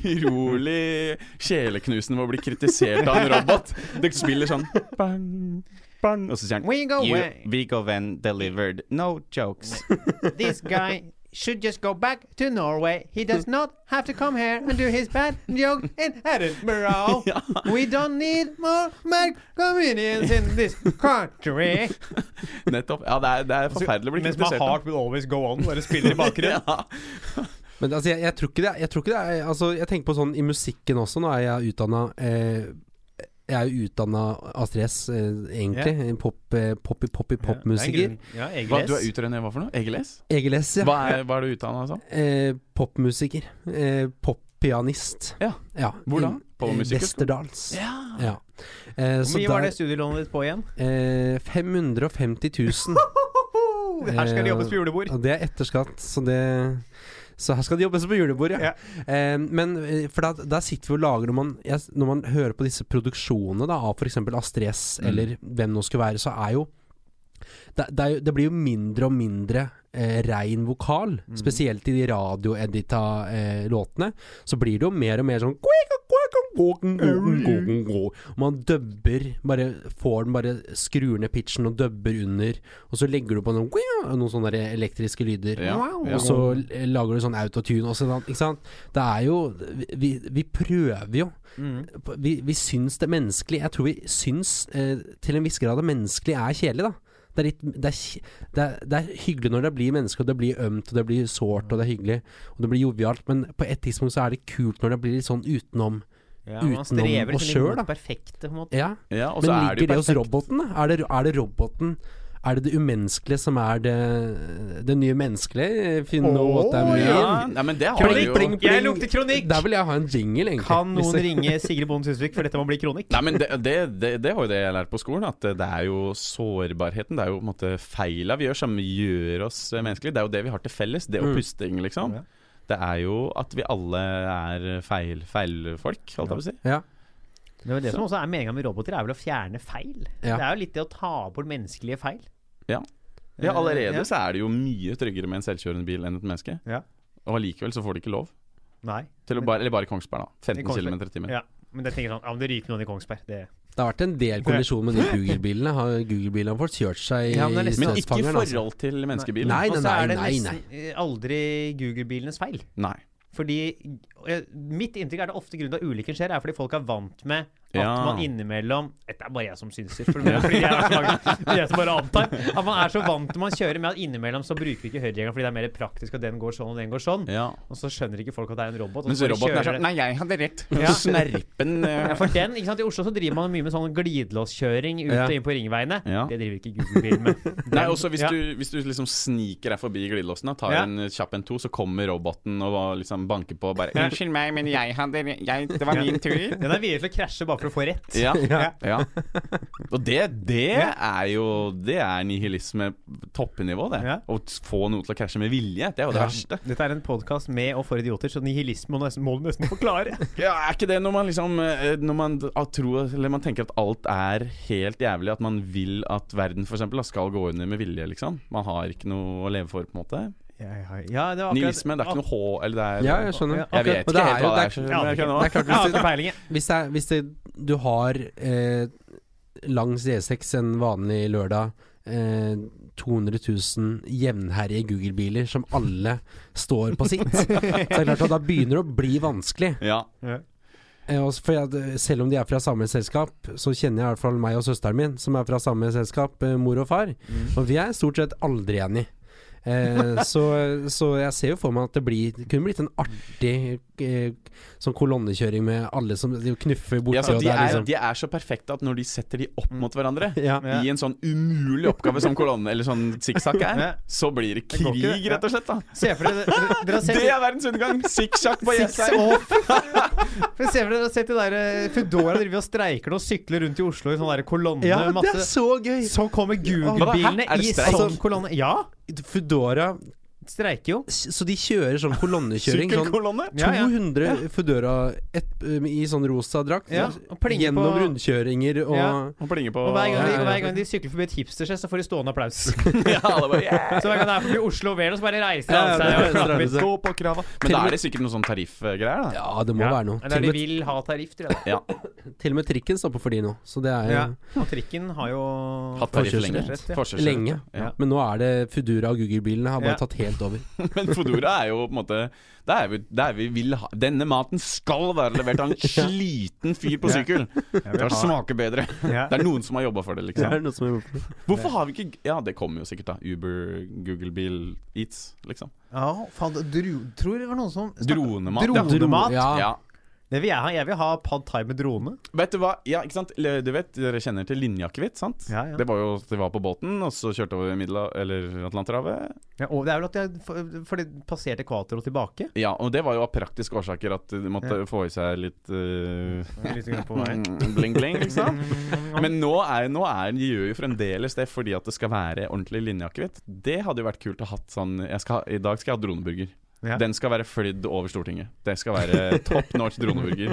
utrolig sjeleknusende med å bli kritisert av en robot. Det spiller sånn bang, bang, og så sier han We go You, away. Viggo Venn delivered no jokes. This guy should just go back to Norway. He does not have to come here and do his bad joke in Edinburgh. We don't need more mad comedians in this country. Nettopp. Ja, det er, det er forferdelig å bli Mens my kritisert. heart will always go on, bare spiller i bakgrunnen. Ja. men altså, jeg, jeg tror ikke det er jeg, tror ikke det er altså, jeg tenker på sånn i musikken også. Nå er jeg utdanna eh, jeg er jo utdanna Astrid S, eh, egentlig. Pop, eh, poppy, poppy, popmusiker. Ja, Hva, du er utredet hva for noe? EGLS? EGLS, ja. Hva er, hva er du altså? utdanna som? Eh, popmusiker. Eh, Poppianist. Ja. ja. Hvor da? På Eh, musikkhøyskolen? Westerdals. Ja. Ja. Eh, Hvor så mye var der det studielånet ditt på igjen? eh, 550 000. Her skal det jobbes på julebord. Og det er etter skatt, så det Så her skal det jobbes på julebord, ja. Eh, men eh, for da, der sitter vi og lager når man, jeg, når man hører på disse produksjonene da, av f.eks. Astrid S, Mm. eller hvem nå skulle være, så er jo det, det, er jo, det blir jo mindre og mindre eh, rein vokal. Mm. Spesielt i de radioedita eh, låtene. Så blir det jo mer og mer sånn Mm. Man dubber bare Får den bare skrur ned pitchen og dubber under, og så legger du på noen, noen sånne der elektriske lyder. Ja, ja. Og så l- lager du sånn autotune og sånn, ikke sant. Det er jo Vi, vi prøver jo. Mm. Vi, vi syns det menneskelige Jeg tror vi syns eh, til en viss grad det menneskelige er kjedelig, da. Det er, litt, det, er, kj- det, er, det er hyggelig når det blir mennesker, og det blir ømt, og det blir sårt, og det er hyggelig, og det blir jovialt, men på et tidspunkt så er det kult når det blir litt sånn utenom. Ja, utenom oss sjøl, da. perfekte, på en måte. Ja, Ja, og så men er det ligger det jo hos perfekt. roboten, da? Er det, er det roboten? Er det det umenneskelige som er det, det nye menneskelige? Finne Åh, what I mean. Ja, nei, men det har Kronikk, vi jo bling, bling. Jeg lukter kronikk! Der vil jeg ha en jingle, egentlig. Kan Hvis noen det- ringe Sigrid Bonde Tusvik, for dette må bli kronikk? Nei, men det, det, det, det var jo det jeg lærte på skolen, at det er jo sårbarheten. Det er jo på en måte feila vi gjør som gjør oss eh, menneskelige. Det er jo det vi har til felles. Det å Mm. puste, liksom. Det er jo at vi alle er feil feilfolk, holdt jeg på å si. Ja. Det er jo det som også er meninga med roboter, er vel å fjerne feil. Det Ja. er jo litt det å ta bort menneskelige feil. Ja, Eh, ja. allerede så er det jo mye tryggere med en selvkjørende bil enn et menneske. Ja. Og allikevel så får de ikke lov. Nei. Til å bare, eller bare Kongsberg, da. I 15 Kongsberg. km i timen. Ja. Men jeg tenker sånn, ja, men det ryker noen i Kongsberg. Det. Det har vært en del kollisjoner med de Google-bilene. Har Google-bilene har fått kjørt seg Ja, men det er i nesten- Men ikke i statsfangeren, altså. forhold til menneskebilen. Nei, Og nei, så nei, er det nei, nei. nesten eh, aldri Google-bilenes feil. Nei. Fordi eh, Mitt inntrykk er det ofte grunnen til at ulykken skjer, er fordi folk er vant med at Ja. man innimellom Dette er bare jeg som synser, for det er fordi jeg, er så mange, det er jeg som bare antar. At man er så vant til man kjører med at innimellom så bruker vi ikke høyreregelen fordi det er mer praktisk at den går sånn og den går sånn. Ja. Og så skjønner ikke folk at det er en robot. og Mens så bare roboten er kjører sånn Nei, jeg hadde rett. Ja. Snerpen eh, Ja, for den, ikke sant? I Oslo så driver man mye med sånn glidelåskjøring ut Ja. og inn på ringveiene. Ja. Det driver ikke Google-bilen med. Nei, også hvis, Ja. du, hvis du liksom sniker deg forbi glidelåsen og tar Ja. en eh, kjapp en to, så kommer roboten og eh, liksom banker på og bare Ja. Unnskyld meg, men jeg hadde re- jeg, Det var min tur. Den er villig til å krasje bare for å få rett. Ja. ja. Og det, det er jo Det er nihilisme toppnivå, det. Ja. Å t- få noe til å krasje med vilje, det er jo det Ja. verste. Dette er en podkast med og for idioter, så nihilisme må du nesten, må du nesten forklare. Ja, er ikke det når man liksom eh, Når man d- ah, tror Eller man tenker at alt er helt jævlig, at man vil at verden for eksempel, da, skal gå under med vilje, liksom. Man har ikke noe å leve for, på en måte. Ja, ja, ja, det var akkurat- Nihilisme, det er ikke noe H eller det er Ja, jeg skjønner. Ja, Jeg akkurat. Og vet ikke det er helt jo- hva det det er. er- som jeg kan nå. Det er klart, Jeg har hvis, ikke det, peiling, jeg. hvis, det, er- hvis det, du har eh, langs E6 en vanlig lørdag eh, 200 000 jevnherje Google-biler som alle står på sitt, så er det klart at da begynner det å bli vanskelig. Ja. Eh, og s- For jeg, selv om de er fra samme selskap, så kjenner jeg i hvert fall meg og søsteren min, som er fra samme selskap, eh, mor og far. Og vi er stort sett aldri enige. Eh, så, så jeg ser jo for meg at det, blir, det kunne blitt en artig eh, sånn kolonnekjøring med alle som de knuffer borti Ja, så og de, det er, liksom de er så perfekte at når de setter de opp mot hverandre ja. Ja. i en sånn umulig oppgave som kolonne eller sånn sikksakk er, Ja. så blir det Det går krig, ikke, ja. rett og slett. da Se for dere dere- dere har Det sett er verdens undergang! Sikksakk på Six- Jessheim! Å, fy faen. For Se for dere dere har sett de der eh, Foodora driver og streiker nå og sykler rundt i Oslo i sånn der kolonne. ja, med det er masse. så gøy! Så kommer Google-bilene Hæ? Er det i streik? sånn kolonne. Ja, Foodora streiker jo. s- Så de kjører sånn kolonnekjøring. Sånn Sykkelkolonne! Ja, ja. 200 Foodora et, i sånn rosa drakt Ja, og plinger gjennom på- rundkjøringer og Ja. Han plinger på Og hver gang, de, Ja, ja, og ja. hver gang de sykler forbi et hipstersted, så får de stående applaus. Så Ja, alle bare, yeah. hver gang det er forbi Oslo og Velo, så bare reiser de Ja, ja, seg. det og er klapper. det. Gå på krava. Men da er det sikkert noen sånn tariffgreier, da. Ja, det må være noe. Eller Til og, de med, vil ha tariff, tror jeg. Ja. til og med trikken stopper for de nå, så det er jo Ja. Og trikken har jo Hatt tariff Forkjørsrett. lenge. Forkjørsrett, ja. Forkjørsrett. lenge. Ja. Men nå er det Foodora og Google-bilene har bare Ja. tatt helt over. Men Fodora er jo på en måte Det er vi, det er vi vil ha Denne maten skal være levert av en sliten fyr på sykkel! Det smaker bedre. Ja. Det er noen som har jobba for det, Det liksom. er noe som er gjort. Hvorfor har vi ikke Ja, det kommer jo sikkert, da. Uber, Google Bil Eats, liksom. Ja, faen, dro, tror det var noen som Dronemat. ja. Drone- Dronemat? Ja. Ja. Det vil jeg ha. Jeg vil ha pad thai med drone. Vet du hva? Ja, ikke sant? Le- Du vet, Dere kjenner til linjeakevitt, sant? Ja, ja. Det var jo det var på båten, og så kjørte over Middela eller Atlanterhavet. Ja, og det er vel at jeg for, for det passerte ekvator og tilbake. Ja, og det var jo av praktiske årsaker at du måtte få i seg litt eh, Litt grann på vei. bling-bling, liksom. Men nå er, nå er de gjør jo fremdeles det fordi at det skal være ordentlig linjeakevitt. Det hadde jo vært kult å ha sånn jeg skal, ha- I dag skal jeg ha droneburger. Ja. Den skal være flydd over Stortinget. Det skal være top notch droneburger.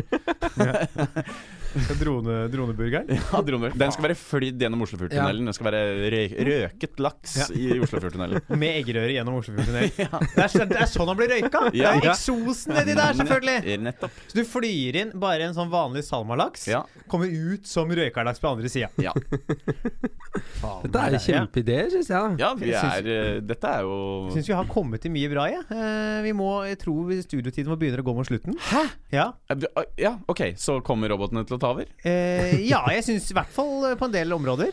Drone, droneburgeren. Ja, droneburger. Den skal være flydd gjennom Oslofjordtunnelen. Den skal være rø røket laks Ja. i Oslofjordtunnelen. Med eggerøre gjennom Oslofjordtunnelen. det, er så- det er sånn han blir røyka! Ja. Det er eksosen nedi der, selvfølgelig! Nettopp. Så du flyr inn bare en sånn vanlig salmalaks, Ja. kommer ut som røykalaks på andre sida. Ja. Dette er kjempeideer, syns jeg. da. ja, vi Jeg syns- er eh, Dette er jo Syns vi har kommet til mye bra, jeg. Eh, vi må, jeg tror studiotiden må begynne å gå mot slutten. Hæ? Ja, Ja, OK, så kommer robotene til å ta over? eh, ja jeg syns i hvert fall eh, på en del områder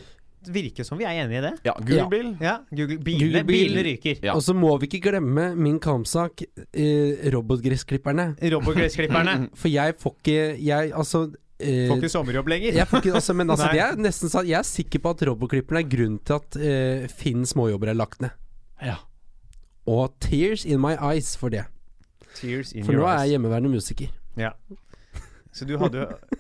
virker som vi er enige i det. Ja, Google Ja. Bil. Ja, Google, bilene, Google bil. bilene ryker. Ja. Og så må vi ikke glemme min kampsak, eh, robotgressklipperne. Robotgressklipperne. For jeg får ikke Jeg, altså eh, Får ikke sommerjobb lenger. jeg får ikke, altså, men altså, Nei. det er nesten sånn Jeg er sikker på at robotklipperne er grunnen til at eh, Finn småjobber er lagt ned. Ja. Og tears in my eyes for det. Tears in For nå your er eyes. jeg hjemmeværende musiker. Ja. Så du hadde jo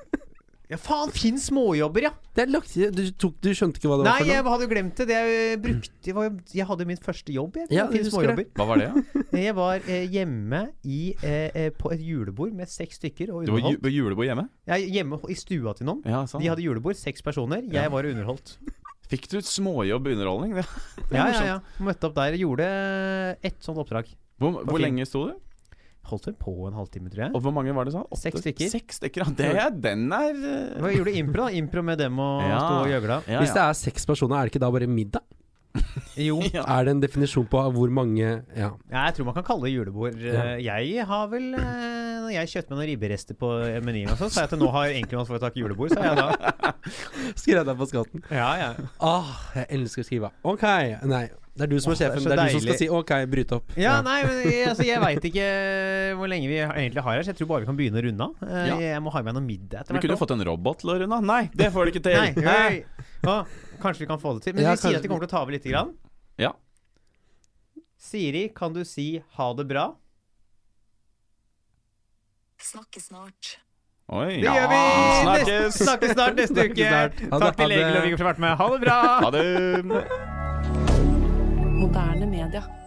Ja, faen, finn småjobber, ja! Det er lagt, du, tok, du skjønte ikke hva det Nei, var for jeg noe? hadde glemt det. Det jeg brukte var, jo- Jeg hadde min første jobb, jeg. Ja, Ja, finn jeg husker småjobber. det. Hva var det? da? Jeg var eh, hjemme i, eh, eh, på et julebord med seks stykker og Du var underholdt. ju på julebord hjemme? Jeg er hjemme i stua til noen. Ja, sant. De hadde julebord, seks personer. Jeg var underholdt. Fikk du småjobb underholdning? Det- det er Ja, ja, morsomt. ja. Møtte opp der. Gjorde ett sånt oppdrag. Hvor, hvor fin. lenge sto du? Holdt vel på en halvtime, tror jeg. Og hvor mange var det sånn? Åtte? Seks stykker. Seks stykker, ja. Det er, den er eh, Jeg gjorde impro, da. Impro med dem og Ja. stå og gjøgla. ja, Hvis det ja. er seks personer, er det ikke da bare middag? Jo. Ja. Er det en definisjon på hvor mange Ja. Ja, jeg tror man kan kalle det julebord. Eh, Jeg har vel eh, Når jeg kjøpte meg noen ribberester på menyen, og sånn, sa jeg at nå har enkeltmannsforetak julebord, sa jeg da. Skrev deg på skatten. Ja, ja. Åh, Ah, jeg elsker å skrive. OK. Nei, det er du som er Åh, det er sjefen. så Det er, du som deilig. skal si OK, bryt opp. Ja, nei, men jeg- altså, jeg veit ikke hvor lenge vi egentlig har her, så jeg tror bare vi kan begynne å runde av. Eh, Ja. Jeg må ha i meg noe middag etter Vi hvert. kunne jo nå. fått en robot til å runde av. Nei, det får du ikke til! Nei, nei. Å, kanskje vi kan få det til. Men vi Ja, sier kanskje- at vi kommer til å ta over lite grann. Ja. Siri, kan du si ha det bra? Snakke snart. Oi. Det gjør vi! Snakkes. Nest- Snakkes snart neste Snakkes uke. snart. Ha det, Takk til ha det. Egil og Viggo for å ha vært med. Ha det bra! Ha det! Moderne media.